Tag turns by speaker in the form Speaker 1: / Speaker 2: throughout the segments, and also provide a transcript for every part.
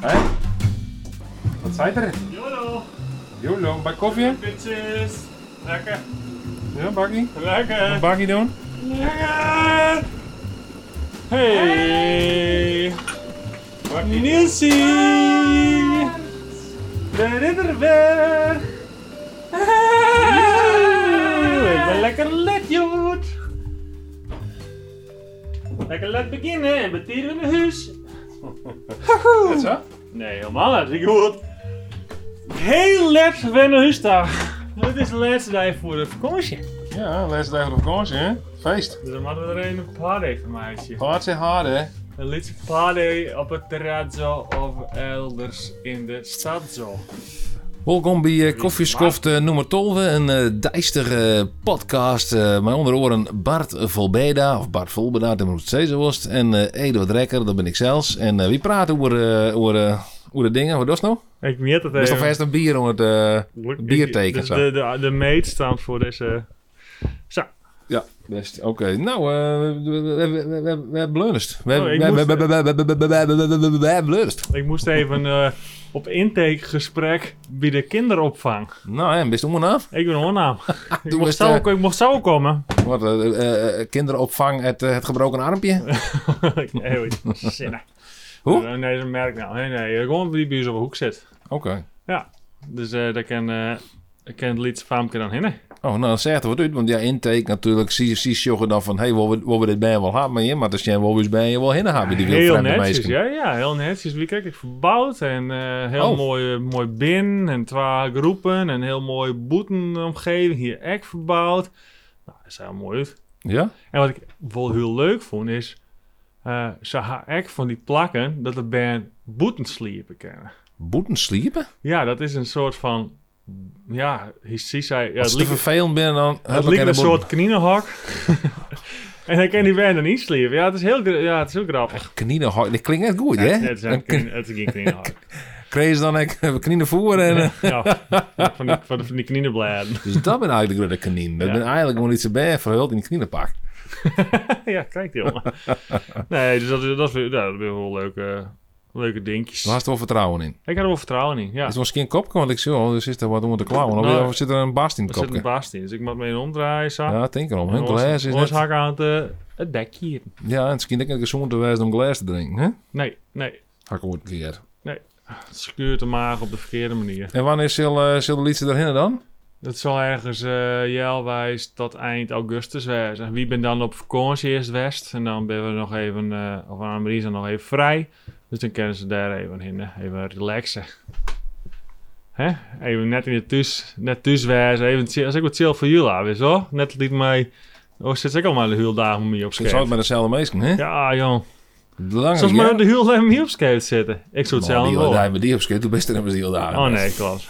Speaker 1: Hé? Wat zei er?
Speaker 2: Jolo,
Speaker 1: Jolo, bij koffie?
Speaker 2: bitches. Lekker,
Speaker 1: Ja, bakkie?
Speaker 2: lekker,
Speaker 1: Wat bakkie doen?
Speaker 2: lekker. Hey, Nilsie. De ridder weer. Joe, Ik ben lekker let, joh. Lekker let beginnen en betieren in mijn huis.
Speaker 1: Goed zo?
Speaker 2: Nee, helemaal hartstikke goed. Heel let wennen huisdag. Het is de laatste dag voor de vakantie.
Speaker 1: Ja, laatste dag op vakantie, hè? Feest.
Speaker 2: Dus dan hadden we er een party van meisje.
Speaker 1: Hard zijn hard, hè?
Speaker 2: Een liedje party op het terrazzo of elders in de stadzoo.
Speaker 3: Welkom bij eh, Koffieskoft eh, nummer 12, een eh dijstere podcast. eh met onder oren Bart Volbeda, of Bart Volbeda, dat moet het steeds zo was. En eh Eduard Rekker, dat ben ik zelfs. En eh, wie praat over, eh, over, eh, over de dingen? Wat is dat nou?
Speaker 2: Ik weet het
Speaker 3: Dat is toch vast een bier om het eh, bierteken?
Speaker 2: Dus
Speaker 3: zo.
Speaker 2: de, de, de meet staat voor deze... Zo.
Speaker 3: Ja, best. Oké, nou, eh, we- we- we- we- we- we hebben bleunest. We
Speaker 2: Oh,
Speaker 3: hebben
Speaker 2: ik
Speaker 3: we- we-
Speaker 2: moest-
Speaker 3: we- we- we- we- we- we- we- we- we- we hebben bleunest.
Speaker 2: Ik moest even eh, op intakegesprek bij de kinderopvang.
Speaker 3: Nou, en best om en af.
Speaker 2: Ik ben onaam. ik,
Speaker 3: Doe
Speaker 2: mocht
Speaker 3: eens,
Speaker 2: zo,
Speaker 3: eh,
Speaker 2: ik mocht zo komen.
Speaker 3: Wat, eh, eh, eh, kinderopvang, het, eh, het gebroken armpje.
Speaker 2: nee, hoe zinnen.
Speaker 3: Hoe?
Speaker 2: Eh, Nee, dat merk ik nou. Nee, nee, gewoon die buurt op de hoek zit.
Speaker 3: Oké.
Speaker 2: Dus eh daar kan, eh daar kan het liedje Faamke dan hinnen.
Speaker 3: Oh, nou, dat zegt er wat uit. Want ja, intake natuurlijk, zie zie joggen dan van... hé, hey, wil we- wil we dit bij wel hebben, maar je... maar als jij wel eens bij je wel hinnen hebben, die wil
Speaker 2: heel
Speaker 3: vreemde
Speaker 2: netjes,
Speaker 3: meisjes.
Speaker 2: ja, ja, heel netjes. Wie kijk ik verbouwd en eh, heel
Speaker 3: Oh.
Speaker 2: mooi, eh, mooi bin en twee groepen en heel mooi boetenomgeving. Hier ek verbouwd. Nou, dat is heel mooi uit.
Speaker 3: Ja?
Speaker 2: En wat ik wel heel leuk vond is, eh ze haar ek van die plakken dat de band boeten sliepen kennen.
Speaker 3: Boeten sliepen?
Speaker 2: Ja, dat is een soort van, ja, hij zie zij,
Speaker 3: Als
Speaker 2: ja, het
Speaker 3: ze te
Speaker 2: liep-
Speaker 3: vervelend ben, dan...
Speaker 2: Het
Speaker 3: heb ik
Speaker 2: lijkt een soort knienenhak. en hij kan die bijna niet sliepen. Ja, het is heel, gra- ja, het is heel grappig.
Speaker 3: Knieën, dit klinkt net goed, hè?
Speaker 2: Het is, een knie- het is geen knienenhak.
Speaker 3: Kreeg je dan ik knieën voor en... eh,
Speaker 2: ja, van die, van, die- van die knienenbladen.
Speaker 3: Dus dat ben eigenlijk de kanien. Dat
Speaker 2: Ja.
Speaker 3: ben eigenlijk gewoon iets erbij verhuld in een knieënpak.
Speaker 2: ja, kijk jongen. Nee, dus dat, is- dat, is, weer- ja, dat is weer wel leuke, leuke dingetjes.
Speaker 3: Daar had er wel vertrouwen in.
Speaker 2: Ik had er wel vertrouwen in, ja.
Speaker 3: Het is misschien een kopje, want ik zie al, er zit er wat onder de klauwen. Of
Speaker 2: Nou,
Speaker 3: of zit er een bast in
Speaker 2: Er
Speaker 3: het
Speaker 2: zit een
Speaker 3: kopje?
Speaker 2: baas in, dus ik moet me in omdraaien. Zo.
Speaker 3: Ja, denk erom. Een
Speaker 2: En
Speaker 3: glas
Speaker 2: ons-
Speaker 3: is
Speaker 2: ons
Speaker 3: net...
Speaker 2: hakken aan het, eh, het dekje hier.
Speaker 3: Ja, en misschien denk ik gezond te wijzen om glas te drinken, hè?
Speaker 2: Nee, nee.
Speaker 3: Hak wordt een keer.
Speaker 2: Het schuurt de maag op de verkeerde manier.
Speaker 3: En wanneer zal, eh, zal de liedje erin dan?
Speaker 2: Dat zal ergens eh jaarwijs tot eind augustus zijn. Wie ben dan op vakantie eerst west? En dan ben we nog even, eh of Annemarie is dan nog even vrij. Dus dan kunnen ze daar even in, eh, even relaxen. Hè? Even net in het thuis, net thuis wezen. Even chill. Dat is ook wat chill voor jullie, ah, weet je wel? Net liet mij, oh, zit ik al maar de hele dagen mee op
Speaker 3: Ik zou het
Speaker 2: skate.
Speaker 3: met dezelfde meesken, hè?
Speaker 2: Ja, jong.
Speaker 3: Belangrijk,
Speaker 2: Zoals
Speaker 3: Oh, ja.
Speaker 2: maar de hele dag mee op skate zitten. Ik zou het
Speaker 3: Nou,
Speaker 2: zelf
Speaker 3: die,
Speaker 2: wel.
Speaker 3: daar hebben die op skate, toen best hebben ze heel dagen.
Speaker 2: Oh nee, klopt.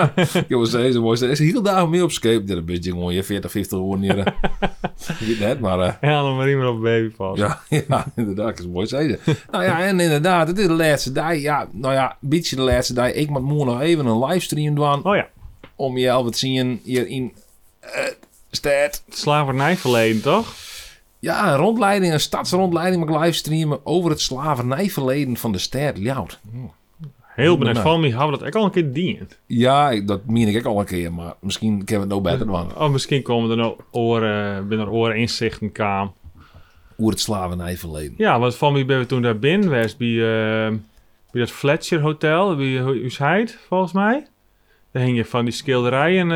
Speaker 3: Jongens, deze mooiste. Er is heel dagen mee op skate. Ja, dat ben je gewoon je 40, 50 hoor niet. eh. Je weet net, maar... eh,
Speaker 2: En Annemarie maar op baby vast.
Speaker 3: Ja, ja, inderdaad, dat is mooi zeiden. nou ja, en inderdaad, het is de laatste dag. Ja, nou ja, een beetje de laatste dag. Ik moet morgen nog even een livestream doen
Speaker 2: Oh ja,
Speaker 3: om je al wat zien hier in eh stad.
Speaker 2: het slavernijverleden toch?
Speaker 3: Ja, een rondleiding, een stadsrondleiding mag ik livestreamen over het slavernijverleden van de stad Ljout.
Speaker 2: Heel benieuwd.
Speaker 3: Nee.
Speaker 2: Van mij hadden we dat ook al een keer dient.
Speaker 3: Ja, ik- dat meen ik ook al een keer, maar misschien kunnen we het nou beter doen.
Speaker 2: Oh, misschien komen er nou oren, binnen er oren inzichten kwam.
Speaker 3: Over het slavernijverleden.
Speaker 2: Ja, want van mij ben we toen daar binnen geweest bij, eh, bij dat Fletcher Hotel, bij eh, Uusheid, volgens mij. Daar hingen van die schilderijen,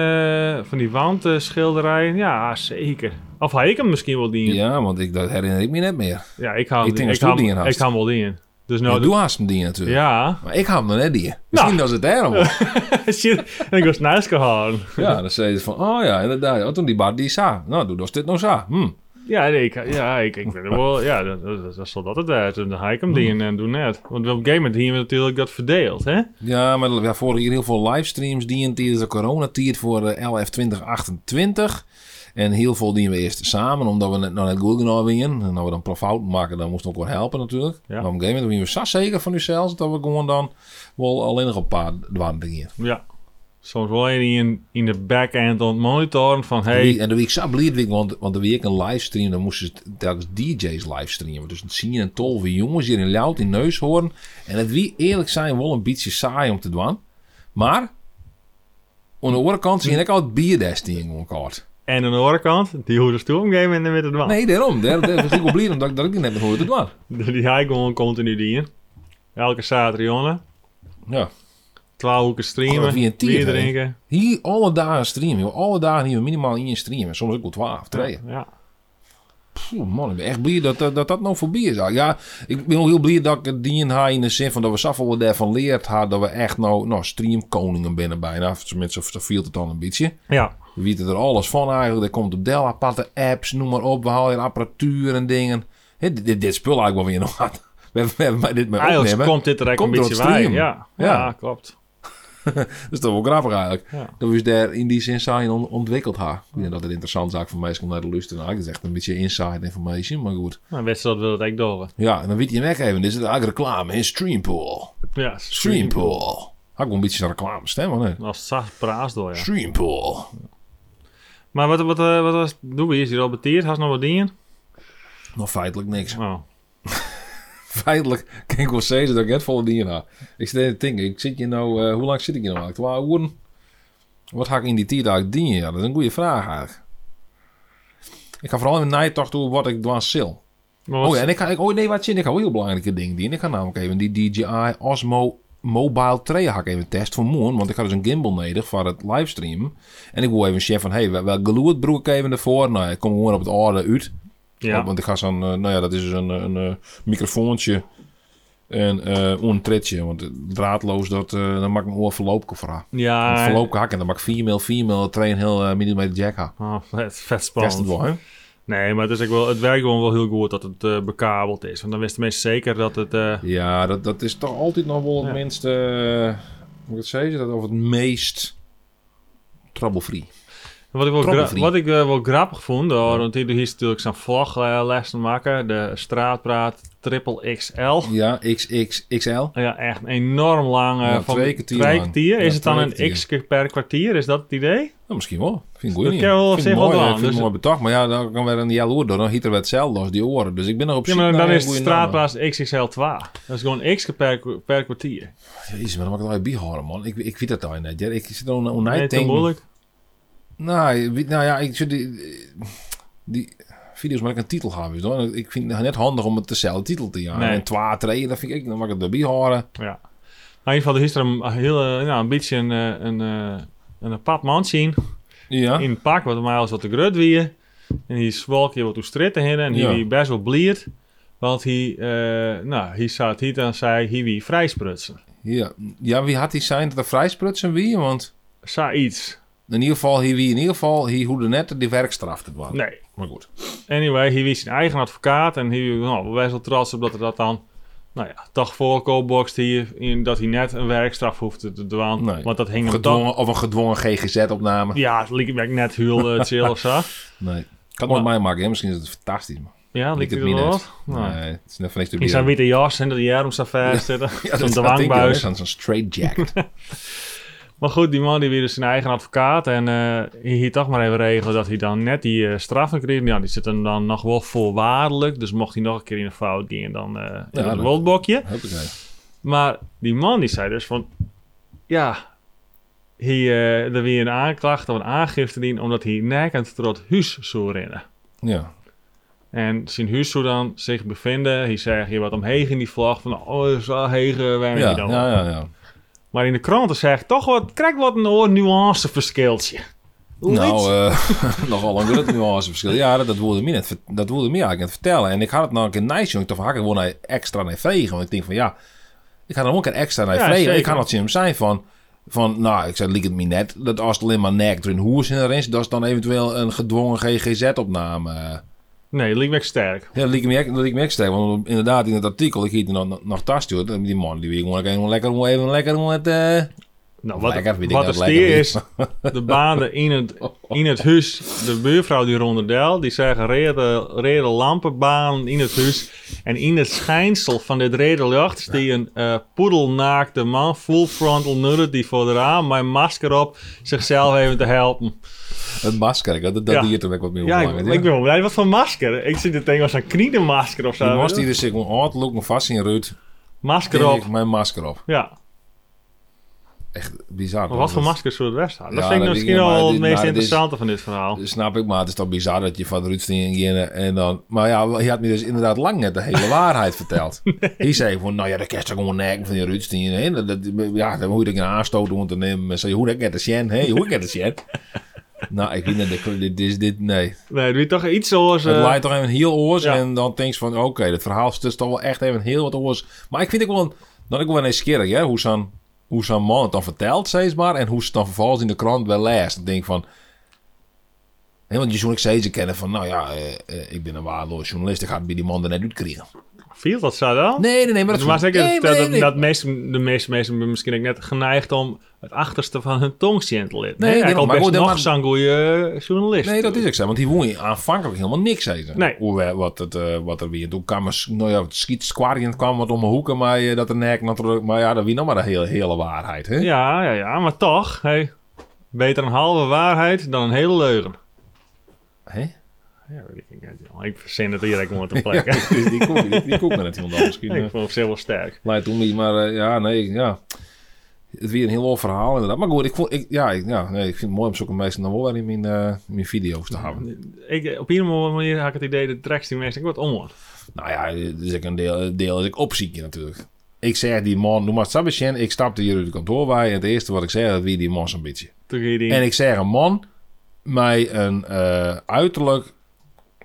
Speaker 2: eh, van die wandschilderijen. Ja, zeker. Of had ik hem misschien wel dient. Ja,
Speaker 3: Ja, want ik, dat herinner ik me net meer.
Speaker 2: ik hou
Speaker 3: Ik denk
Speaker 2: ik
Speaker 3: dat
Speaker 2: hou
Speaker 3: Stoet
Speaker 2: hem-
Speaker 3: dient
Speaker 2: ik
Speaker 3: had.
Speaker 2: hou hem wel dient. Dus
Speaker 3: Nou,
Speaker 2: nou,
Speaker 3: doe haast hem die natuurlijk.
Speaker 2: ja.
Speaker 3: Maar ik hou hem dan net die. Misschien dat is het daarom.
Speaker 2: Shit, en ik was naast gehouden.
Speaker 3: Ja, dan zei ze van, oh ja, inderdaad. Oh, toen die bar die sa. Nou, doe dus dit nou sa. Hm.
Speaker 2: Ja, nee, ik, ja, ik, ik ben er wel. Ja, dat, dat, dat, dat zal dat het uit. Dan haal ik hem die en, en doe net. Want op een gegeven moment hier natuurlijk dat verdeeld, hè?
Speaker 3: Ja, maar ja, vorig jaar heel veel livestreams die in tijdens de coronatijd voor eh, LF 2028. En heel veel die we eerst samen, omdat we net nog net goed genomen waren. En als we dan profout maken, dan moest het ook wel helpen natuurlijk.
Speaker 2: Ja.
Speaker 3: Maar op een gegeven moment waren we zo zeker van uzelf dat we gewoon dan wel alleen nog op paard waren dingen.
Speaker 2: Ja. Soms wel een in, in de back-end aan het monitoren van... Hey,
Speaker 3: Wie- En de week zat Bleedwijk, want, want de week een livestream, dan moesten ze telkens DJ's livestreamen. Dus dan zie je een tolve jongens hier in Lout in Neushoorn. En het wie eerlijk zijn wel een beetje saai om te doen. Maar, aan de andere kant zie je ook al het bierdest in gewoon kaart.
Speaker 2: en aan de andere kant, die hoort de stoomgame in de midden van.
Speaker 3: Nee, daarom. Daar daar was ik wel blij om dat ik dat ik net nog hoorde te doen.
Speaker 2: Die hij gewoon continu die in. Elke zaterdag,
Speaker 3: Ja.
Speaker 2: 12 hoeken streamen,
Speaker 3: Oh, wie een tier,
Speaker 2: bier
Speaker 3: hè?
Speaker 2: drinken.
Speaker 3: Hier alle dagen streamen. joh. Alle dagen hier minimaal één stream. En soms ook wel twaalf, twee.
Speaker 2: Ja.
Speaker 3: Pff, man, ik ben echt blij dat dat, dat, dat nou voorbij is. Ja, ik ben wel heel blij dat ik het dien ha in de zin van dat we zoveel daarvan leerd hadden. Dat we echt nou, nou streamkoningen binnen bijna. Of Tenminste, zo viel het dan een beetje.
Speaker 2: ja.
Speaker 3: We weten er alles van eigenlijk. Er komt op Dell aparte apps, noem maar op. We halen hier apparatuur en dingen. Hè, dit, dit, dit spul eigenlijk wel weer nog aan. We hebben, we hebben maar dit maar
Speaker 2: Eigenlijk
Speaker 3: opnemen.
Speaker 2: komt dit er echt een
Speaker 3: Komt door
Speaker 2: beetje
Speaker 3: het
Speaker 2: bij. Ja.
Speaker 3: streamen.
Speaker 2: Ja.
Speaker 3: Ja.
Speaker 2: klopt.
Speaker 3: Dat is toch wel grappig eigenlijk.
Speaker 2: Ja.
Speaker 3: Dat we dus daar in die zin zijn on- ontwikkeld ha. Ik denk dat het interessant zaak voor mij is om naar de luisteren. Dat is echt een beetje inside information, maar goed.
Speaker 2: Nou, wist je dat wil het echt door.
Speaker 3: Ja, en dan weet je hem echt even. Dit is eigenlijk reclame in Streampool.
Speaker 2: Ja,
Speaker 3: Streampool. Had ik wel een beetje zijn reclame stemmen, hè?
Speaker 2: Als het zacht praat door, ja.
Speaker 3: Streampool.
Speaker 2: Maar wat, wat, eh, wat was, doen we hier? Is hier al betierd? Had nog wat dingen?
Speaker 3: Nog feitelijk niks.
Speaker 2: Oh.
Speaker 3: Feitelijk, kijk wel steeds dat ik het volle dingen had. Ik zit te denken, ik zit hier nou, eh, hoe lang zit ik hier nou eigenlijk? Twee uren? Wat ga ik in die tijd eigenlijk dienen? Ja, dat is een goede vraag eigenlijk. Ik ga vooral in de nijtocht doen wat ik dwars zil.
Speaker 2: Maar wat-
Speaker 3: Oh ja, en ik ga, ik- oh nee, wat zin, ik ga wel heel belangrijke dingen dienen. Ik ga namelijk even die DJI Osmo Mobile 3 ga ik even testen voor morgen. Want ik had dus een gimbal nodig voor het livestream. En ik wil even checken van, hé, hey, wel geloerd broer ik even ervoor. Nou, ik kom gewoon op het orde uit.
Speaker 2: ja.
Speaker 3: Want ik ga zo'n, eh, nou ja, dat is dus een, eh, een eh, microfoontje. En eh een tretje, want draadloos, dat, eh dan maak ik mijn oor voorlopig voor haar.
Speaker 2: Ah, ja.
Speaker 3: Een voorlopige hak en dan maak ik 4 mil, 4 mil, 2,5 mm jack haar.
Speaker 2: Oh, vet, vet
Speaker 3: Test het
Speaker 2: spannend.
Speaker 3: wel, hè?
Speaker 2: Nee, maar het, is ook wel, het werkt gewoon wel heel goed dat het eh, bekabeld is. Want dan wisten mensen zeker dat het... eh,
Speaker 3: Ja, dat, dat is toch altijd nog wel het
Speaker 2: Ja.
Speaker 3: minst, eh, hoe moet ik het zeggen, dat of het meest trouble-free.
Speaker 2: Wat ik wel, gra-
Speaker 3: Trommelvriend.
Speaker 2: wat ik, eh, wel grappig vond, hoor, want hier is natuurlijk zo'n vlog eh, lessen maken. De straatpraat triple XL.
Speaker 3: Ja, XXXL.
Speaker 2: Ja, echt enorm lang. eh,
Speaker 3: Ja,
Speaker 2: van
Speaker 3: twee kwartier
Speaker 2: twee
Speaker 3: lang.
Speaker 2: kwartier. Is
Speaker 3: Ja,
Speaker 2: het dan
Speaker 3: twee
Speaker 2: een
Speaker 3: kwartier.
Speaker 2: x keer per kwartier? Is dat het idee?
Speaker 3: Nou, misschien wel. Vind ik
Speaker 2: Dat
Speaker 3: goed niet.
Speaker 2: kan wel op
Speaker 3: Vind ik
Speaker 2: zich wel
Speaker 3: mooi, eh,
Speaker 2: doen,
Speaker 3: Vind ik
Speaker 2: dus-
Speaker 3: mooi betocht. Maar ja, dan kan weer een jaloer door. Dan hiet er weer hetzelfde als die oren. Dus ik ben nog op
Speaker 2: Ja,
Speaker 3: zoek
Speaker 2: maar dan
Speaker 3: naar
Speaker 2: is
Speaker 3: een
Speaker 2: het
Speaker 3: goede naam.
Speaker 2: straatplaats XXL2. Dat is gewoon x keer per, kwa- per kwartier.
Speaker 3: Jezus, maar dan mag ik het wel even bijhouden, man. Ik, ik weet dat nou net. ja. Ik zit er een een
Speaker 2: Nee,
Speaker 3: night
Speaker 2: te moeilijk.
Speaker 3: Nou, je weet- nou ja, ik zit die, die video's maar ik een titel hebben. Dus dan, ik vind het net handig om het dezelfde titel te jagen.
Speaker 2: Nee.
Speaker 3: En twa treden, dat vind ik, dan mag ik het erbij horen.
Speaker 2: Ja. Maar in ieder geval, er is er een, heel, eh, nou, een beetje een, eh, een, eh, een apart man zien.
Speaker 3: Ja.
Speaker 2: in het pak, wat mij als wat te grut wie. En die zwalk je wat toe stritten heen en die
Speaker 3: Ja.
Speaker 2: wie best wel bliert. Want hij, eh, nou, hij zat hier en zei, hij wie vrij sprutsen.
Speaker 3: Ja, ja wie had die zijn dat er vrijsprutsen wie? Want
Speaker 2: Sa iets.
Speaker 3: in ieder geval, hier wie in ieder geval, hier hoe de net die werkstraf het was.
Speaker 2: Nee.
Speaker 3: Maar goed.
Speaker 2: Anyway, hij wie zijn eigen advocaat en hij was nou, best wel trots op dat er dat dan, nou ja, toch voorkoopboxt hier, in, dat hij net een werkstraf hoefde te doen.
Speaker 3: Nee.
Speaker 2: Want dat hing hem toch.
Speaker 3: Gedwongen, of een gedwongen GGZ-opname.
Speaker 2: Ja, het liep me net heel eh, chill of zo.
Speaker 3: Nee. Kan
Speaker 2: Maar-
Speaker 3: het mij maken, hè? misschien is het fantastisch. Man.
Speaker 2: Ja, liep
Speaker 3: Ik
Speaker 2: het
Speaker 3: het
Speaker 2: er
Speaker 3: niet
Speaker 2: wel
Speaker 3: net.
Speaker 2: wat?
Speaker 3: Nee.
Speaker 2: Nou.
Speaker 3: het is net van niks te
Speaker 2: In zijn
Speaker 3: beheren.
Speaker 2: witte jas en dat hij hem zo vast zitten.
Speaker 3: Ja,
Speaker 2: Zo'n
Speaker 3: dat dat denk ik wel, hè,
Speaker 2: dwangbuis.
Speaker 3: Zo'n zo'n straight jacket.
Speaker 2: Maar goed, die man die weer dus zijn eigen advocaat. En eh hij hier toch maar even regelen dat hij dan net die eh, straffen kreeg. Ja, die zit hem dan nog wel voorwaardelijk. Dus mocht hij nog een keer in de fout gaan, dan eh in
Speaker 3: Ja,
Speaker 2: het
Speaker 3: dat-
Speaker 2: roodbokje.
Speaker 3: Hoppakee.
Speaker 2: Maar die man die zei dus van... Ja, hij, eh er weer een aanklacht of een aangifte dien... omdat hij nekend tot het huis zou rennen.
Speaker 3: Ja.
Speaker 2: En zijn huis zou dan zich bevinden. Hij zei hier wat omheen in die vlag. Van, oh, zo hegen, waar ben je
Speaker 3: Ja,
Speaker 2: dan?
Speaker 3: ja, ja, ja.
Speaker 2: Maar in de kranten zegt toch wat... Krijg wat een oor nuanceverschiltje. Hoe iets-
Speaker 3: Nou, eh, nogal een groot nuanceverschil. Ja, dat, dat wilde me net, ver- dat wilde me eigenlijk net vertellen. En ik had het nou een keer nice, jongen. Toen had ik gewoon naar- extra naar vregen. Want ik denk van, ja, ik had er ook een keer extra naar
Speaker 2: Ja,
Speaker 3: vregen.
Speaker 2: zeker.
Speaker 3: Ik had dat zien hem zijn van, van, nou, ik zei, liep het me net. Dat als het alleen maar nek erin, hoe is het erin? Dat is dan eventueel een gedwongen GGZ-opname.
Speaker 2: Nee, Linkback sterk.
Speaker 3: Ja, dat liep me, echt- dat liep me echt sterk. Want inderdaad, in het artikel, ik hield er nog, nog, nog tast, joh. Die man, die wil gewoon even lekker, even lekker, met, eh
Speaker 2: Nou,
Speaker 3: Of
Speaker 2: wat,
Speaker 3: lekker, weet ik
Speaker 2: wat
Speaker 3: nou,
Speaker 2: het
Speaker 3: lekker
Speaker 2: stier
Speaker 3: niet.
Speaker 2: is, de banen in het, in het huis, de buurvrouw die rondel, die zeggen reden, reden lampenbaan in het huis. En in het schijnsel van dit reden lucht die een eh, poedelnaakte man, full frontal nudity voor de raam, mijn masker op, zichzelf even te helpen.
Speaker 3: Het masker, ik had- dat, dat
Speaker 2: Ja.
Speaker 3: hier toch ook wat meer
Speaker 2: Ja, ik,
Speaker 3: belangrijk,
Speaker 2: ik ben wel blij, wat voor masker? Ik zit te denken als een kniedenmasker of zo.
Speaker 3: Die
Speaker 2: weet
Speaker 3: was
Speaker 2: je?
Speaker 3: die dus ik moet look vast in Ruud.
Speaker 2: Masker
Speaker 3: Tik
Speaker 2: op.
Speaker 3: ik mijn masker op.
Speaker 2: Ja,
Speaker 3: Echt bizar.
Speaker 2: maar
Speaker 3: hoor.
Speaker 2: wat voor maskers zullen het best hebben? Dat
Speaker 3: Ja,
Speaker 2: vind ik
Speaker 3: dat
Speaker 2: misschien
Speaker 3: weet ik niet,
Speaker 2: al
Speaker 3: maar
Speaker 2: het
Speaker 3: dit-
Speaker 2: meest
Speaker 3: maar dit is-
Speaker 2: interessante van dit verhaal.
Speaker 3: Dat Snap ik, maar het is toch bizar dat je van Ruud ging en, en dan... Maar ja, hij had me dus inderdaad lang net de hele waarheid verteld. Hij zei van, nou ja, dat kerst gewoon nek van die Ruud Stien. hè. Dat, dat- ja, dan moet ik een aanstoot moeten nemen. En zei, hoe dat net de Sjen, hé, hoe ik net de Sjen. nou, ik weet niet, dit- dit is dit, nee.
Speaker 2: Nee, doe je toch iets zoals...
Speaker 3: Het
Speaker 2: eh,
Speaker 3: lijkt toch even heel oors
Speaker 2: ja.
Speaker 3: en dan denk je van, oké, het verhaal is dus toch wel echt even heel wat oors. Maar ik vind ook wel, een- dat ik wel eens keer, hè, hoe zo'n hoe zo'n man het dan vertelt, steeds maar, en hoe ze het dan vervolgens in de krant wel leest. Dan denk ik van, hè, want je zou ik steeds kennen van, nou ja, eh, eh, ik ben een waardeloos journalist, ik ga het bij die man er net uitkrijgen.
Speaker 2: Viel dat zo dan?
Speaker 3: Nee, nee, nee, maar
Speaker 2: Maar
Speaker 3: dat
Speaker 2: maar zeker
Speaker 3: nee,
Speaker 2: dat,
Speaker 3: nee, nee.
Speaker 2: dat meeste, de meeste mensen zijn misschien ook net geneigd om het achterste van hun tong zien te litten.
Speaker 3: Nee,
Speaker 2: Nee,
Speaker 3: nee,
Speaker 2: ik al
Speaker 3: maar
Speaker 2: best
Speaker 3: goed, dat
Speaker 2: nog
Speaker 3: mag-
Speaker 2: zo'n goede journalist.
Speaker 3: Nee, dat is ook zo. Want die woon aanvankelijk helemaal niks eten.
Speaker 2: eh, Nee.
Speaker 3: Hoe, we- wat, het, eh, wat er weer. Toen kwam er, s- nou ja, het schiet squariën kwam wat om de hoeken. Maar eh, dat er nek natuurlijk. Maar ja, dat wie nog maar de hele, hele waarheid. Hè?
Speaker 2: Ja, ja, ja, maar toch. Hey, beter een halve waarheid dan een hele leugen.
Speaker 3: Hè?
Speaker 2: Ja, weet ik, niet, joh. ik verzin het direct maar te plekken.
Speaker 3: Dus die koek, die, die koek maar net iemand anders. Misschien.
Speaker 2: ik vond het zelf wel sterk.
Speaker 3: Maar toen niet. Maar eh, ja, nee, ja. Het weer een heel oor verhaal inderdaad. Maar goed, ik, vond, ik, ja, ik, ja, nee, ik vind het mooi om zulke mensen dan wel weer in mijn, eh, mijn video's te hebben.
Speaker 2: Ik, op ieder manier had ik het idee dat tracks die mensen ik wat omhoor.
Speaker 3: Nou ja, dat is ook een deel, deel dat ik opziek natuurlijk. Ik zeg die man, noem maar het Sabbatjen. Ik stapte hier uit het kantoor bij. En het eerste wat ik zei, dat wie die man zo'n beetje.
Speaker 2: Toen ging die...
Speaker 3: En ik zeg een man met een eh, uiterlijk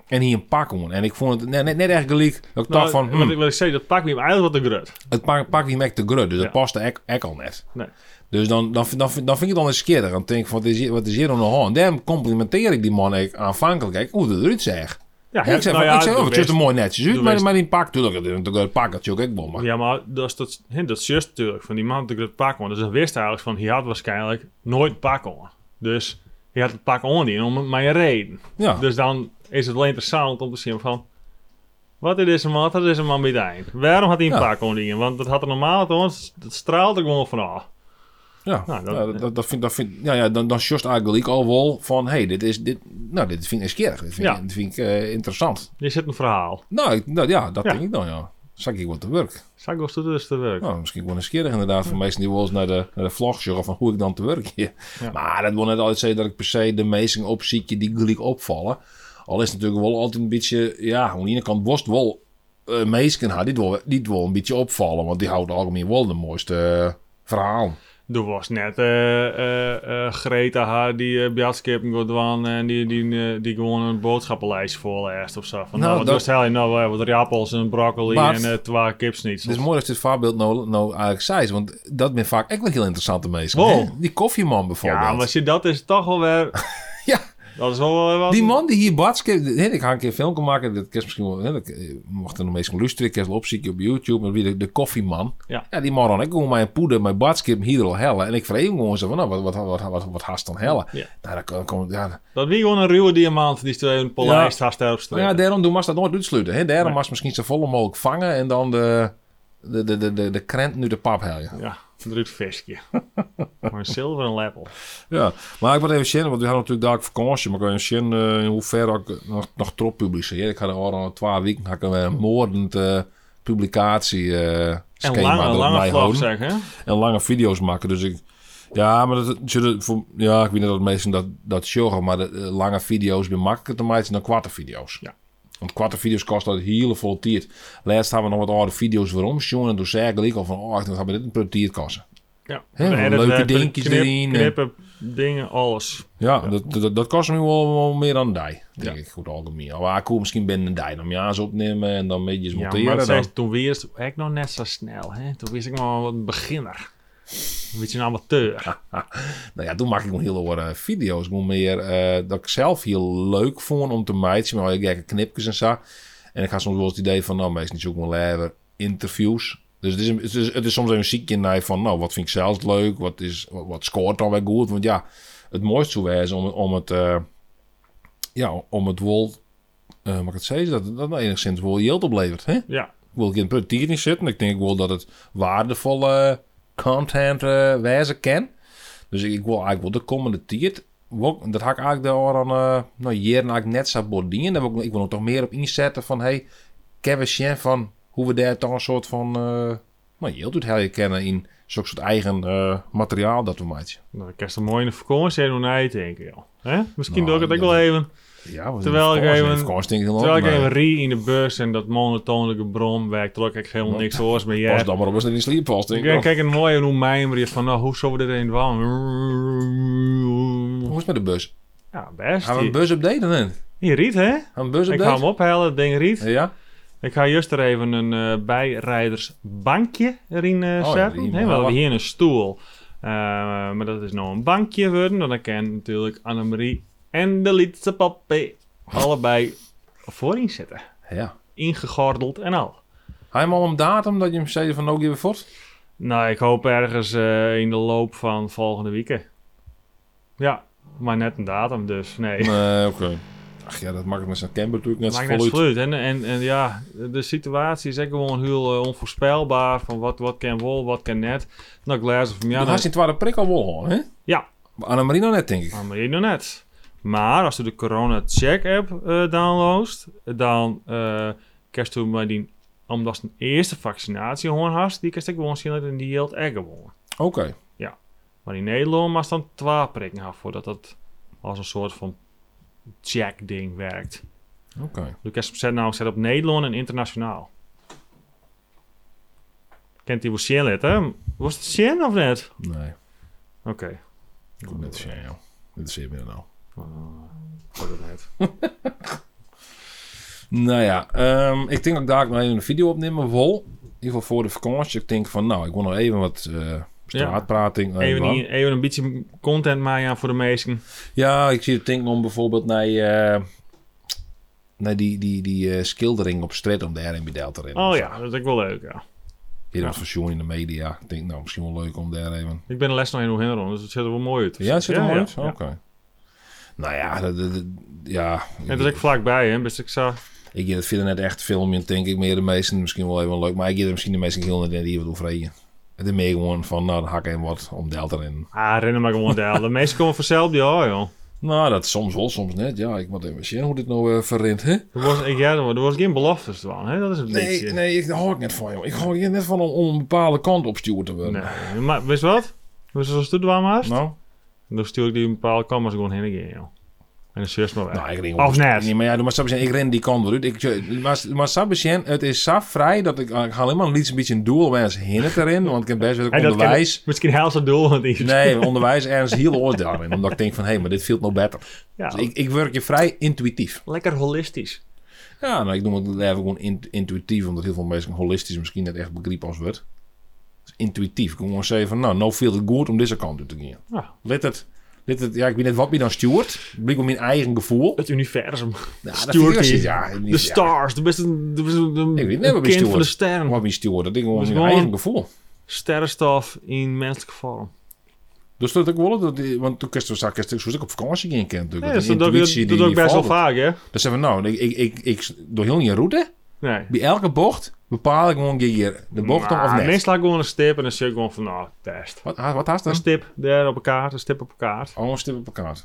Speaker 3: en hier een pak om. En ik vond het net, net, net echt gelijk. Dat ik
Speaker 2: Nou,
Speaker 3: dacht van,
Speaker 2: wat,
Speaker 3: hm,
Speaker 2: ik, wat ik zei, dat pak me hem eigenlijk wat de grut.
Speaker 3: het pak, pak niet meer te grut. Dus
Speaker 2: Ja.
Speaker 3: dat paste echt- echt al net.
Speaker 2: Nee.
Speaker 3: Dus dan, dan, dan, dan vind ik het dan eens keer. Dan denk ik van, wat is hier, wat is hier aan de hand? Daarom complimenteer ik die man echt aanvankelijk. Kijk, hoe dat eruit zeg. Ja, ik zeg,
Speaker 2: nou
Speaker 3: van,
Speaker 2: ja,
Speaker 3: ik zeg
Speaker 2: de
Speaker 3: oh, het is
Speaker 2: best-
Speaker 3: een mooi netjes uit,
Speaker 2: de
Speaker 3: maar,
Speaker 2: best-
Speaker 3: maar die pak, tuurlijk, het is natuurlijk een pak, dat is ook ik wel. Maar
Speaker 2: Ja, maar dat is, dat, hè, dat is juist natuurlijk van die man dat ik het pak on. Dus dan wist hij eigenlijk van, hij had waarschijnlijk nooit pak on. Dus hij had het pak on in om mijn reden.
Speaker 3: ja.
Speaker 2: Dus dan is het wel interessant om te zien van, wat is deze man, wat is deze man bij het eind? Waarom had hij een
Speaker 3: Ja.
Speaker 2: pak on in? Want dat had er normaal toch, dat straalt er gewoon vanaf.
Speaker 3: Ja,
Speaker 2: Nou,
Speaker 3: ja,
Speaker 2: dat-
Speaker 3: dat, dat, dat vind dat vind, ja, ja, dan, dan sjost eigenlijk al wel van, hé, hey, dit is, dit, nou, dit vind ik skerig, dit vind,
Speaker 2: Ja.
Speaker 3: ik- dit vind ik eh, interessant.
Speaker 2: Je zit een verhaal.
Speaker 3: Nou, ik, nou ja, dat
Speaker 2: Ja.
Speaker 3: denk ik dan, ja. Zag ik wat te werk.
Speaker 2: Zag ik dus te werk.
Speaker 3: Nou, misschien wel een skerig inderdaad, voor mensen die wel eens naar de, naar de vlog zorgen van hoe ik dan te werk hier. Maar dat wil net altijd zeggen dat ik per se de meesting opziekje die gelijk opvallen. Al is het natuurlijk wel altijd een beetje, ja, aan de ene kant worst wel eh meesken had, die het wel, die het wel een beetje opvallen, want die houdt algemeen wel de mooiste eh, verhaal.
Speaker 2: Er was net eh, eh, eh, Greta haar die eh Bjatskippen gaat doen en die, die, eh, die gewoon een boodschappenlijst voorleest of zo. Van, nou,
Speaker 3: Nou,
Speaker 2: wat
Speaker 3: dat-
Speaker 2: doet hij nou? eh, wat rappels en broccoli
Speaker 3: Maar-
Speaker 2: en eh twee kipsniets.
Speaker 3: Het is mooi dat dit voorbeeld nou, nou eigenlijk zei is, want dat ben vaak echt wel heel interessante mensen.
Speaker 2: Wow.
Speaker 3: hè? Die koffieman bijvoorbeeld.
Speaker 2: ja, maar zie, dat is toch wel weer...
Speaker 3: Ja.
Speaker 2: Dat is wel weer wat...
Speaker 3: Die man die hier badskip, hè, ik ga een keer een film maken, dat is misschien wel, hè, dat eh, mocht er nog meestal luisteren, ik heb het opzieken op YouTube, maar wie de, de koffieman.
Speaker 2: Ja.
Speaker 3: die man dan, ik gewoon mijn poeder, mijn badskip hier al hellen. En ik vreeg hem gewoon zo van, nou, wat, wat, wat, wat, wat haast dan hellen?
Speaker 2: Ja.
Speaker 3: Nou, dan kom- kom, ja,
Speaker 2: Dat wie gewoon een ruwe diamant die twee een polijst haast daarop
Speaker 3: nou ja,
Speaker 2: strepen.
Speaker 3: daarom doe dat nooit uitsluiten. Hè? Daarom
Speaker 2: Nee.
Speaker 3: was misschien zo volle mogelijk vangen en dan de, de, de, de, de, de krent nu de pap halen.
Speaker 2: Ja, een drukt visje. Maar een zilveren lepel.
Speaker 3: Ja, maar ik wil even zien, want we hadden natuurlijk daar vakantie, maar ik wil even zien eh, in hoeverre ik nog, nog trop publiceer. Ik had er al aan twee weken had ik een eh, moordend eh, publicatie eh
Speaker 2: En
Speaker 3: schema
Speaker 2: lange,
Speaker 3: erop
Speaker 2: lange vlog
Speaker 3: bijhouden.
Speaker 2: zeg, hè?
Speaker 3: en lange video's maken. Dus ik, ja, maar dat zullen voor, ja, ik weet niet dat mensen dat dat sjoggen, maar de, eh, lange video's ben makkelijker te maken dan kwarte video's.
Speaker 2: Ja.
Speaker 3: Want kwarte video's kosten dat heel veel tijd. Laatst hebben we nog wat oude video's waarom jongen en toen zei ik al van, oh, dan gaan we dit een per tijd kosten.
Speaker 2: Ja.
Speaker 3: Hè,
Speaker 2: En
Speaker 3: leuke
Speaker 2: werd
Speaker 3: dingetjes
Speaker 2: eh, knip-
Speaker 3: erin en-
Speaker 2: Knippen, dingen, alles.
Speaker 3: Ja, Dat, dat, dat kost me wel, wel meer dan een dij, denk
Speaker 2: Ja.
Speaker 3: ik, goed algemeen. Maar cool, misschien ben een dij dan jaars opnemen en dan beetje
Speaker 2: Ja,
Speaker 3: monteren.
Speaker 2: maar
Speaker 3: dan.
Speaker 2: zei, toen wist ik nog net zo snel. Hè? Toen wist ik nog wel een beginner. Een beetje een amateur.
Speaker 3: Nou ja, toen maak ik nog heel andere video's. Gewoon meer eh, dat ik zelf heel leuk vond om te meiden. Maar ik gekke knipjes en zo. En ik had soms wel eens het idee van, nou, meestal zoek ik wel even interviews. Dus het is, een- het is, het is soms even ziekje naar van, nou, wat vind ik zelfs leuk? Wat, is, wat, wat scoort dan weer goed? Want ja, het mooiste zou zijn om, om het, eh, ja, om het wol, eh mag ik het zeggen, dat het dat het enigszins wol yield oplevert, hè?
Speaker 2: Ja,
Speaker 3: Ik wil geen portier in zitten. Ik denk wel dat het waardevolle content eh, wezen kan. Dus ik, ik wil eigenlijk wel de komende tijd. wil ik- Dat had ik eigenlijk daar aan eh nou, jaren eigenlijk net zo bordieren. Daar wil ik, ik wil er toch meer op inzetten van hey, Kevin Shen van hoe we daar toch een soort van eh nou, je doet heel kennen in zo'n soort eigen eh, materiaal dat we maken.
Speaker 2: dan kan je mooi in de vakantie en doen denken, joh. Hè? Misschien
Speaker 3: Nou,
Speaker 2: doe ik het ook
Speaker 3: ja.
Speaker 2: wel even.
Speaker 3: Ja, we
Speaker 2: Terwijl ik even- Terwijl ik even
Speaker 3: even
Speaker 2: rie in de bus en dat monotonelijke brom werkt, trok ik helemaal niks hoors meer.
Speaker 3: Pas
Speaker 2: Ja,
Speaker 3: dan maar op als er in sliep vast. denk ik.
Speaker 2: kijk, kijk een mooie hoe mijmeren van, nou, hoe zullen we dit in doen?
Speaker 3: Hoe is het met de bus?
Speaker 2: Ja, best.
Speaker 3: Gaan we een
Speaker 2: Die,
Speaker 3: bus updaten? hè?
Speaker 2: die riet, hè?
Speaker 3: Gaan we een bus
Speaker 2: Ik ga hem
Speaker 3: updaten?
Speaker 2: ophalen, het ding riet.
Speaker 3: Ja?
Speaker 2: Ik ga juist er even een eh, bijrijdersbankje erin eh,
Speaker 3: Oh,
Speaker 2: zetten.
Speaker 3: erin,
Speaker 2: Hè, we hadden
Speaker 3: ja.
Speaker 2: hier een stoel. Eh, maar dat is nou een bankje worden. Dan kan natuurlijk Annemarie en de Lietse papi allebei voorin zitten.
Speaker 3: Ja.
Speaker 2: Ingegordeld en al.
Speaker 3: Hij hem al een datum dat je hem zei van nou geven voort?
Speaker 2: Nou, ik hoop ergens eh, in de loop van volgende weekend. Ja, maar net een datum dus. Nee.
Speaker 3: Nee, Eh, oké. Ach ja, dat maakt het met zijn camper natuurlijk net zo
Speaker 2: Maakt net
Speaker 3: voluit.
Speaker 2: sluit. En, en, en ja, de situatie is echt gewoon heel eh, onvoorspelbaar. Van wat, wat kan wel, wat kan net. Nou, ik luister van ja,
Speaker 3: Dan had je het ware prik al wel gehad, hè?
Speaker 2: Ja.
Speaker 3: Maar Annemarie nog net, denk ik.
Speaker 2: nou, maar je nog net. Maar als je de corona check app eh downloadt, dan eh kerst je maar die, omdat ze een eerste vaccinatie gewoon had, die kerst ik gewoon zien dat in die heel echt gewoon.
Speaker 3: Oké.
Speaker 2: Maar in Nederland was dan twee prikken af voordat dat als een soort van check ding werkt.
Speaker 3: Oké.
Speaker 2: Dus ik zet nou zet op Nederland en internationaal. Kent die wel Shin lid, hè? Was het Shin of net?
Speaker 3: Nee.
Speaker 2: Oké.
Speaker 3: Ik wil net zeggen, joh. Dit is weer meer nou.
Speaker 2: Wordt het net.
Speaker 3: Nou ja, ehm, ik denk dat ik daar ook nog even een video opnemen wil. In ieder geval voor de vakantie. Ik denk van nou, ik wil nog even wat eh straatprating. eh,
Speaker 2: Even,
Speaker 3: wat.
Speaker 2: die- even een beetje content maken voor de meesten.
Speaker 3: Ja, ik zie het denken om bijvoorbeeld naar, eh, naar die, die, die eh, schildering op straat om daar in Bidel te rennen.
Speaker 2: Oh ja, dat is ook wel leuk, ja.
Speaker 3: Hier was versioen in de media. Ik denk, nou, misschien wel leuk om daar even...
Speaker 2: Ik ben de les nog in hoe rond, dus het zit er wel mooi uit.
Speaker 3: Ja, het zit er mooi uit?
Speaker 2: ja.
Speaker 3: Oké. Nou ja, dat, dat- dat- ja.
Speaker 2: En het is ook vlakbij, hè? Best ik zo.
Speaker 3: Ik vind het verder net echt filmje, denk ik, meer de meesten. Misschien wel even leuk, maar ik geef er misschien de meesten heel net hier wat over heen. Het is meer gewoon van, nou, dan hak ik even wat om Delta in.
Speaker 2: Ah, rennen maar gewoon daar. De meesten komen vanzelf die hoor, joh.
Speaker 3: Nou, dat soms wel, soms net. Ja, ik moet even zien hoe dit nou eh verrint, hè?
Speaker 2: Er was, ik, ja, er was geen beloftes van, hè? Dat is het
Speaker 3: Nee,
Speaker 2: beetje.
Speaker 3: nee, ik daar hou ik net van, joh. Ik hou hier net van om, om een bepaalde kant op stuur te worden.
Speaker 2: Nee, Maar wist wat? Wist je zoals toen was? maar?
Speaker 3: Nou?
Speaker 2: Dan stuur ik die een bepaalde kamers gewoon heen again, joh. En dan zus maar weg.
Speaker 3: Nou, ik ren
Speaker 2: Of net.
Speaker 3: Nee, maar ja, maar Sabine, ik ren die kant wel uit. Ik, maar maar Sabine, het is zo vrij dat ik, ik ga alleen maar een liedje een beetje een doel om ergens heen te rennen. Want ik heb best wel
Speaker 2: En dat kan-
Speaker 3: onderwijs.
Speaker 2: misschien haalt ze het doel want die-
Speaker 3: Nee, onderwijs ergens heel oors daarin. Omdat ik denk van, hé, maar dit viel nog beter.
Speaker 2: Ja,
Speaker 3: Dus ik, ik werk je vrij intuïtief.
Speaker 2: lekker holistisch.
Speaker 3: Ja, nou, ik noem het even gewoon in- intuïtief. Omdat heel veel mensen holistisch misschien net echt begrip als wordt. Dus intuïtief. Ik kan gewoon zeggen van, nou, nou viel het goed om deze kant uit te gaan.
Speaker 2: Ja.
Speaker 3: Let het, let het, ja, ik weet net wat mij dan stuurt. Ik blijf op mijn eigen gevoel.
Speaker 2: Het universum.
Speaker 3: Ja, dat vind
Speaker 2: Stuurt
Speaker 3: ik
Speaker 2: die.
Speaker 3: wel zin. Ja,
Speaker 2: De
Speaker 3: ja.
Speaker 2: stars. De beste. De, beste- de-
Speaker 3: Ik weet niet
Speaker 2: een
Speaker 3: wat
Speaker 2: kind
Speaker 3: bestuurd.
Speaker 2: van de sterren.
Speaker 3: Wat wist je hoor? Dat ding gewoon
Speaker 2: Dus
Speaker 3: mijn
Speaker 2: gewoon-
Speaker 3: eigen gevoel.
Speaker 2: Sterrenstof in menselijke vorm.
Speaker 3: Dus dat ik wel, dat, want toen kerst was ik zoals ik op vakantie ging kent
Speaker 2: Nee, dus
Speaker 3: natuurlijk. die
Speaker 2: dat doe ik-
Speaker 3: intuïtie
Speaker 2: dat
Speaker 3: die
Speaker 2: doe ik
Speaker 3: je
Speaker 2: best wel
Speaker 3: volgt.
Speaker 2: vaak, hè?
Speaker 3: Dan zeggen we nou, ik, ik, ik, ik door heel je route,
Speaker 2: Nee.
Speaker 3: bij elke bocht bepaal ik gewoon hier de bocht dan of
Speaker 2: Maar
Speaker 3: net.
Speaker 2: Meestal ik gewoon een stip en dan zeg ik gewoon van, nou, test.
Speaker 3: Wat, ha- wat haast
Speaker 2: Een
Speaker 3: dan?
Speaker 2: stip daar op een kaart, een stip op een kaart.
Speaker 3: Oh, een stip op elkaar.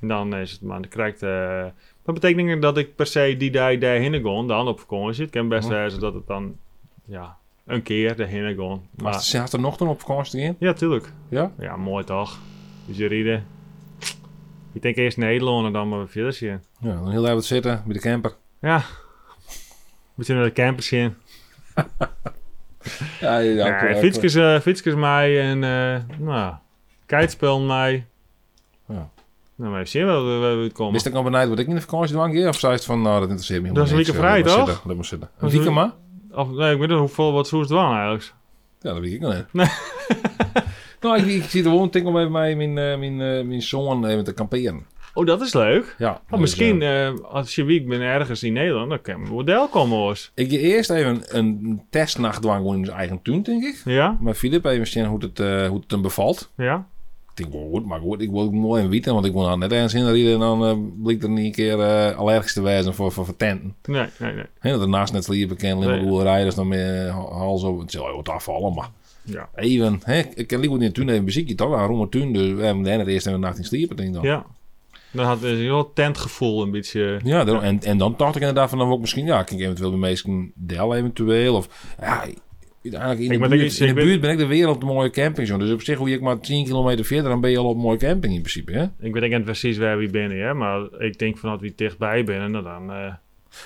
Speaker 2: En dan is het, maar dan krijg ik de... Dat betekent niet dat ik per se die dag daarheen kon, dan op vakantie. Het kan best
Speaker 3: Hm.
Speaker 2: zijn dat het dan, ja, een keer daarheen kon.
Speaker 3: Maar
Speaker 2: Maar,
Speaker 3: ze had er nog dan op vakantie in?
Speaker 2: ja, tuurlijk.
Speaker 3: Ja?
Speaker 2: Ja, mooi toch. Dus je rieden. Ik denk eerst Nederland en dan maar weer verder zien.
Speaker 3: Ja, dan heel even wat zitten bij de camper.
Speaker 2: Ja. Moet je naar de campers zien.
Speaker 3: Ja, ja,
Speaker 2: Ja, fietsjes, eh, fietsjes mij en, eh nou, kitespel mij.
Speaker 3: Ja.
Speaker 2: Nou, maar we zien wel waar we het komen.
Speaker 3: Wist ik al benijd wat ik in de vakantie doe? een keer? Of zei het van, nou, dat interesseert me
Speaker 2: Dat is een
Speaker 3: helemaal
Speaker 2: week
Speaker 3: niks,
Speaker 2: vrij,
Speaker 3: eh, laat maar zitten, Laat
Speaker 2: toch?
Speaker 3: maar zitten. Een
Speaker 2: Dat is een-
Speaker 3: weekend maar?
Speaker 2: Of, nee, ik weet niet hoeveel, wat zoest het wel eigenlijk.
Speaker 3: Ja, dat weet ik nog niet.
Speaker 2: Nee.
Speaker 3: nou, ik, ik zit gewoon te denken om even mijn, mijn, eh, mijn, eh, mijn zoon even te kamperen.
Speaker 2: Oh, dat is leuk.
Speaker 3: Ja,
Speaker 2: Oh,
Speaker 3: dus,
Speaker 2: misschien
Speaker 3: eh,
Speaker 2: eh, als je week bent ergens in Nederland, dan kan je een model komen hoor.
Speaker 3: eh, ik je eerst even een testnacht dwang in zijn eigen tuin, denk ik.
Speaker 2: Ja,
Speaker 3: Maar Filip, even zien hoe het, eh, hoe het hem bevalt.
Speaker 2: ja.
Speaker 3: Ik denk, wel goed, maar goed, ik wil ook mooi en weten, want ik wil nou net ergens in rijden en dan eh blijkt er niet een keer eh, allergisch te wijzen voor, voor, voor tenten.
Speaker 2: Nee, nee, nee.
Speaker 3: Hè, dat er naast net liepen, ik ken
Speaker 2: Nee.
Speaker 3: hoe rijden, dus dan meer hals over. Het zal je wat afvallen, maar
Speaker 2: Ja.
Speaker 3: even, hè, ik ken liever in de tuin even muziekje toch, een romme tuin, dus we hebben de eerste en de nacht in sliepen, denk ik dan.
Speaker 2: Ja. Dan had het een heel tentgevoel een beetje.
Speaker 3: Ja, daarom- en, en dan dacht ik inderdaad van dan ook misschien, ja, kan ik eventueel bij meesten del eventueel. Of ja, uiteindelijk in de,
Speaker 2: Ik ben
Speaker 3: buurt,
Speaker 2: denk ik-
Speaker 3: in de
Speaker 2: ik ben-
Speaker 3: buurt ben ik de weer op de mooie camping. Zo. Dus op zich, hoe je maar 10 kilometer verder, dan ben je al op een mooie camping in principe. Hè?
Speaker 2: Ik weet niet precies waar we binnen, hè, maar ik denk vanuit wie dichtbij binnen, nou dan. eh,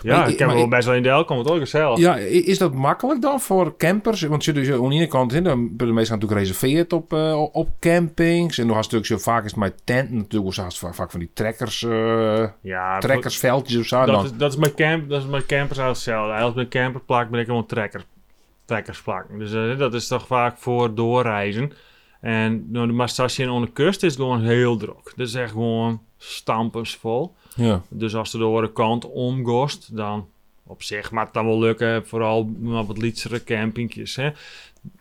Speaker 2: ja,
Speaker 3: Maar-
Speaker 2: ik heb
Speaker 3: maar-
Speaker 2: wel best wel in de komen, toch? Gezellig.
Speaker 3: Ja, i- is dat makkelijk dan voor campers? Want je dus aan de ene kant, hè, dan worden de meesten natuurlijk gereserveerd op, eh, op campings. En nog een stuk, zo vaak is het mijn tent natuurlijk, of zo, haast va- vaak van die trekkers, eh,
Speaker 2: Ja,
Speaker 3: trekkersveldjes of zo.
Speaker 2: dat,
Speaker 3: Ah, dan.
Speaker 2: is, dat, is mijn camp, dat is mijn campers eigenlijk hetzelfde. Eigenlijk met camperplak ben ik gewoon trekker, trekkersplak. Dus eh, dat is toch vaak voor doorreizen. En nou, de massage aan de kust is gewoon heel druk. Dat is echt gewoon stampersvol.
Speaker 3: Ja.
Speaker 2: Dus als er de andere kant omgost, dan op zich mag het dan wel lukken. Vooral op wat lietsere campingjes. Hè.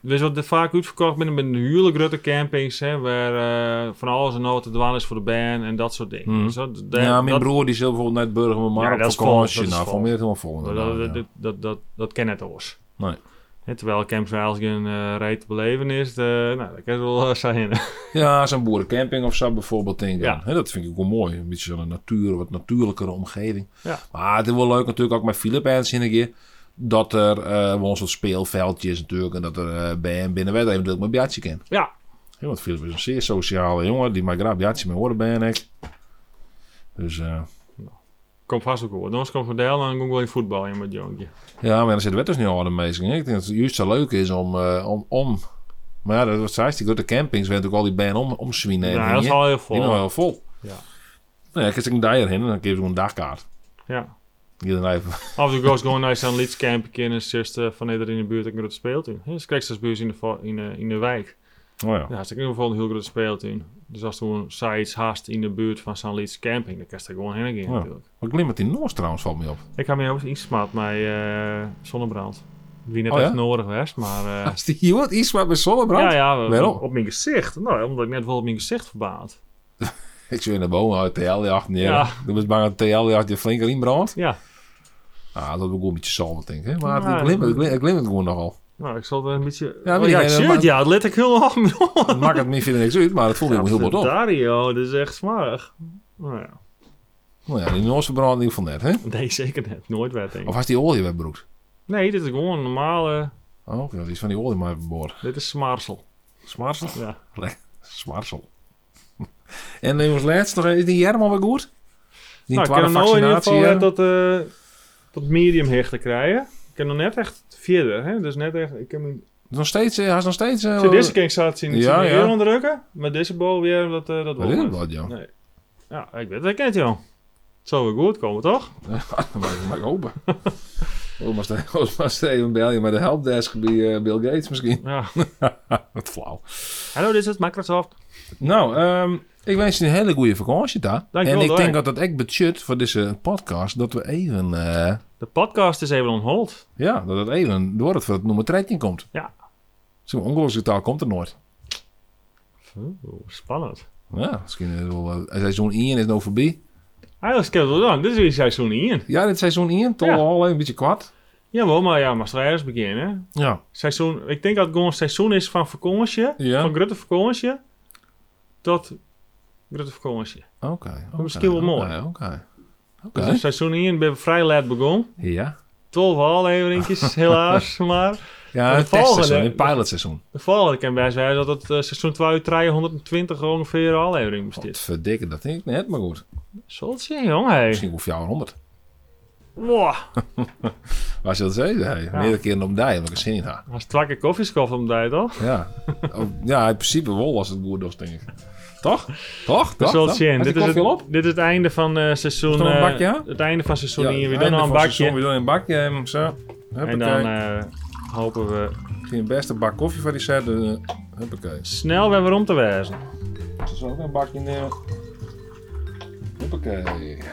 Speaker 2: Weet je wat er vaak uitverkocht binnen met de huurlijk grote campings. Hè, waar eh, van alles en nog wat te dwalen is voor de band en dat soort dingen.
Speaker 3: Mhm.
Speaker 2: Dus dat, dat-
Speaker 3: ja, mijn
Speaker 2: dat-
Speaker 3: broer die zit bijvoorbeeld naar het
Speaker 2: Ja,
Speaker 3: Burgermar
Speaker 2: dat
Speaker 3: op
Speaker 2: is vol,
Speaker 3: vakantie.
Speaker 2: dat is
Speaker 3: Nou,
Speaker 2: vol.
Speaker 3: voor mij is het helemaal vol.
Speaker 2: dat, dat,
Speaker 3: inderdaad, ja.
Speaker 2: dat, dat, dat, dat ken het ons.
Speaker 3: Nee.
Speaker 2: Hè, terwijl Camps Weilsgen eh reed te beleven is, de, nou, dat kan je wel eh, zijn.
Speaker 3: Ja, zo'n boerencamping of zo bijvoorbeeld. Denk ik dan.
Speaker 2: Ja.
Speaker 3: Hè, dat vind ik ook wel mooi. Een beetje zo'n natuur, wat natuurlijkere omgeving.
Speaker 2: Ja.
Speaker 3: Maar het is wel leuk natuurlijk ook met Philip eens in een keer. Dat er eh wel zo'n speelveldje is natuurlijk. En dat er eh, bij hem binnen werd eventueel mijn Bjartje kent.
Speaker 2: ja,
Speaker 3: Hè, want Philip is een zeer sociale jongen. Die maakt graag Bjartje mee horen bij en ik. Dus eh,
Speaker 2: komt vast ook wel. Anders komt Verdel en dan kom ik wel in voetbal in met jongetje.
Speaker 3: ja, maar dan zit de wet dus niet al de meesten. Ik denk dat het juist zo leuk is om... eh, om, om maar ja, dat was zei, die grote campings werd natuurlijk al die band om, omswienen. en
Speaker 2: Nou, dat is
Speaker 3: dingen.
Speaker 2: al heel
Speaker 3: Die nog
Speaker 2: vol.
Speaker 3: wel vol.
Speaker 2: Ja.
Speaker 3: Nou ja, ik zit een daar heen en dan geef ik een dagkaart.
Speaker 2: Ja.
Speaker 3: Iedereen even.
Speaker 2: Af en toe goes gewoon naar zo'n lidscampje en is uh, van iedereen in de buurt een grote speeltuin. Hè, Dus krijg je buurt in de, va- in, de, in de wijk.
Speaker 3: Oh ja.
Speaker 2: Ja, is in ieder geval een heel grote speeltuin. Dus als er gewoon sites haast in de buurt van zo'n lidscamping, dan kan je er gewoon heen gaan
Speaker 3: Ja.
Speaker 2: natuurlijk.
Speaker 3: Maar klimt die Noors trouwens valt me op.
Speaker 2: Ik heb me overigens iets smaat met eh, zonnebrand. Wie net
Speaker 3: Oh ja?
Speaker 2: echt nodig was, maar... eh,
Speaker 3: Als die hier wat iets maar bij zonnebrand.
Speaker 2: ja, ja, we-
Speaker 3: Waarom?
Speaker 2: op, mijn gezicht. Nou, omdat ik net wel op mijn gezicht verbaat.
Speaker 3: Ik zou in de boom uit TL-jacht neer.
Speaker 2: Ja.
Speaker 3: Dan was bang dat TL-jacht je flink erin brandt.
Speaker 2: Ja,
Speaker 3: Ah, dat wil ik ook een beetje zalm, denk ik. Maar
Speaker 2: Ja.
Speaker 3: het glimt, het glimt, het glimt gewoon nogal.
Speaker 2: nou, ik zal er een beetje...
Speaker 3: Ja,
Speaker 2: Ja,
Speaker 3: maar
Speaker 2: oh, ja,
Speaker 3: die-
Speaker 2: ik zie
Speaker 3: maar-
Speaker 2: het, ja, het let ik heel erg op.
Speaker 3: Het maakt het meer verder niks uit, maar het voelt me heel wat op.
Speaker 2: Dario, dit is echt smarig. Nou ja,
Speaker 3: Nou ja, die Noors verbrand in ieder geval net, hè?
Speaker 2: nee, zeker net. Nooit werd, denk ik.
Speaker 3: Of had die olie wegbroekt?
Speaker 2: Nee, dit is gewoon een normale.
Speaker 3: Oh, oké, die is van die olie maar even boord.
Speaker 2: Dit is smarsel.
Speaker 3: Smarsel?
Speaker 2: Ja.
Speaker 3: Smarsel. en dan was laatst nog, is die Jerman weer goed? Die
Speaker 2: nou, ik
Speaker 3: twaalf
Speaker 2: kan nou in ieder
Speaker 3: vaccinatie.
Speaker 2: geval
Speaker 3: hè?
Speaker 2: net tot, eh tot medium hechten krijgen. Ik kan nog net echt verder, hè? Dus net echt. Ik heb een,
Speaker 3: Nog steeds, eh, hij is nog steeds... eh,
Speaker 2: zie, deze keer zat zien.
Speaker 3: Ja,
Speaker 2: Ja,
Speaker 3: ja.
Speaker 2: ja. onderdrukken. Maar deze bal weer, dat, eh dat
Speaker 3: Wat
Speaker 2: wel.
Speaker 3: is dat,
Speaker 2: net.
Speaker 3: blad, joh?
Speaker 2: Nee. Ja, ik weet het, ik ken het, joh. Het zal weer goed komen, toch?
Speaker 3: Maar ik mag open. Oh, maar Steven- oh, maar Steven bel je met de helpdesk bij eh, Bill Gates misschien.
Speaker 2: Ja.
Speaker 3: Wat flauw.
Speaker 2: Hallo, dit is het Microsoft.
Speaker 3: Nou, ehm, ik wens je een hele goede vakantie daar.
Speaker 2: Dankjewel,
Speaker 3: en ik
Speaker 2: doei.
Speaker 3: denk dat dat echt budget voor deze podcast, dat we even, eh,
Speaker 2: De podcast is even on hold.
Speaker 3: ja, dat het even door het voor het nummer treintje komt.
Speaker 2: Ja.
Speaker 3: Zo'n ongelooflijk taal komt er nooit.
Speaker 2: Oeh, spannend.
Speaker 3: Ja, misschien is het wel, eh, seizoen 1 is nou voorbij.
Speaker 2: Eigenlijk is het wel lang. Dit is weer seizoen 1.
Speaker 3: Ja, dit seizoen 1, toch
Speaker 2: Ja.
Speaker 3: al een beetje kwart.
Speaker 2: Jawel, maar ja, maar strijders beginnen.
Speaker 3: Ja.
Speaker 2: seizoen, ik denk dat het gewoon een seizoen is van vakantie,
Speaker 3: Ja.
Speaker 2: van grote vakantie, tot grote vakantie.
Speaker 3: Oké. oké,
Speaker 2: misschien wel
Speaker 3: oké,
Speaker 2: mooi.
Speaker 3: Oké. Oké.
Speaker 2: Dus seizoen 1 ben ik vrij laat begonnen.
Speaker 3: Ja.
Speaker 2: 12 afleveringjes, helaas, maar
Speaker 3: Ja,
Speaker 2: de
Speaker 3: een
Speaker 2: volgende-
Speaker 3: testseizoen, een pilotseizoen.
Speaker 2: de volgende kan bij zijn dat het eh, seizoen 2 320 ongeveer aflevering
Speaker 3: Dit
Speaker 2: bestaat.
Speaker 3: verdikken, dat denk ik net, maar goed.
Speaker 2: Zult zien, jongen. Hey.
Speaker 3: Misschien hoef jou een 100.
Speaker 2: Wow.
Speaker 3: Waar ze dat zeggen, hey, meerdere keren om die, omdat ik er zin in had.
Speaker 2: Als het twee keer koffieskop om tijd, toch?
Speaker 3: Ja. Oh, ja, in principe wel als het goed was, denk ik. Toch? Toch?
Speaker 2: We
Speaker 3: Toch?
Speaker 2: zullen
Speaker 3: Toch?
Speaker 2: zien.
Speaker 3: Had je
Speaker 2: Dit is, het,
Speaker 3: koffie al op?
Speaker 2: dit is het einde van eh, seizoen...
Speaker 3: Is er nog een
Speaker 2: eh,
Speaker 3: bakje, hè?
Speaker 2: het einde van seizoen 1. We
Speaker 3: einde
Speaker 2: doen nog een
Speaker 3: van seizoen,
Speaker 2: bakje.
Speaker 3: We doen een bakje. En zo.
Speaker 2: En
Speaker 3: Huppakee.
Speaker 2: dan eh, hopen we
Speaker 3: Geen beste bak koffie van die set. Dus, eh, huppakee.
Speaker 2: snel weer weer om te wijzen.
Speaker 3: Ze zullen ook een bakje nemen. Hoppakee.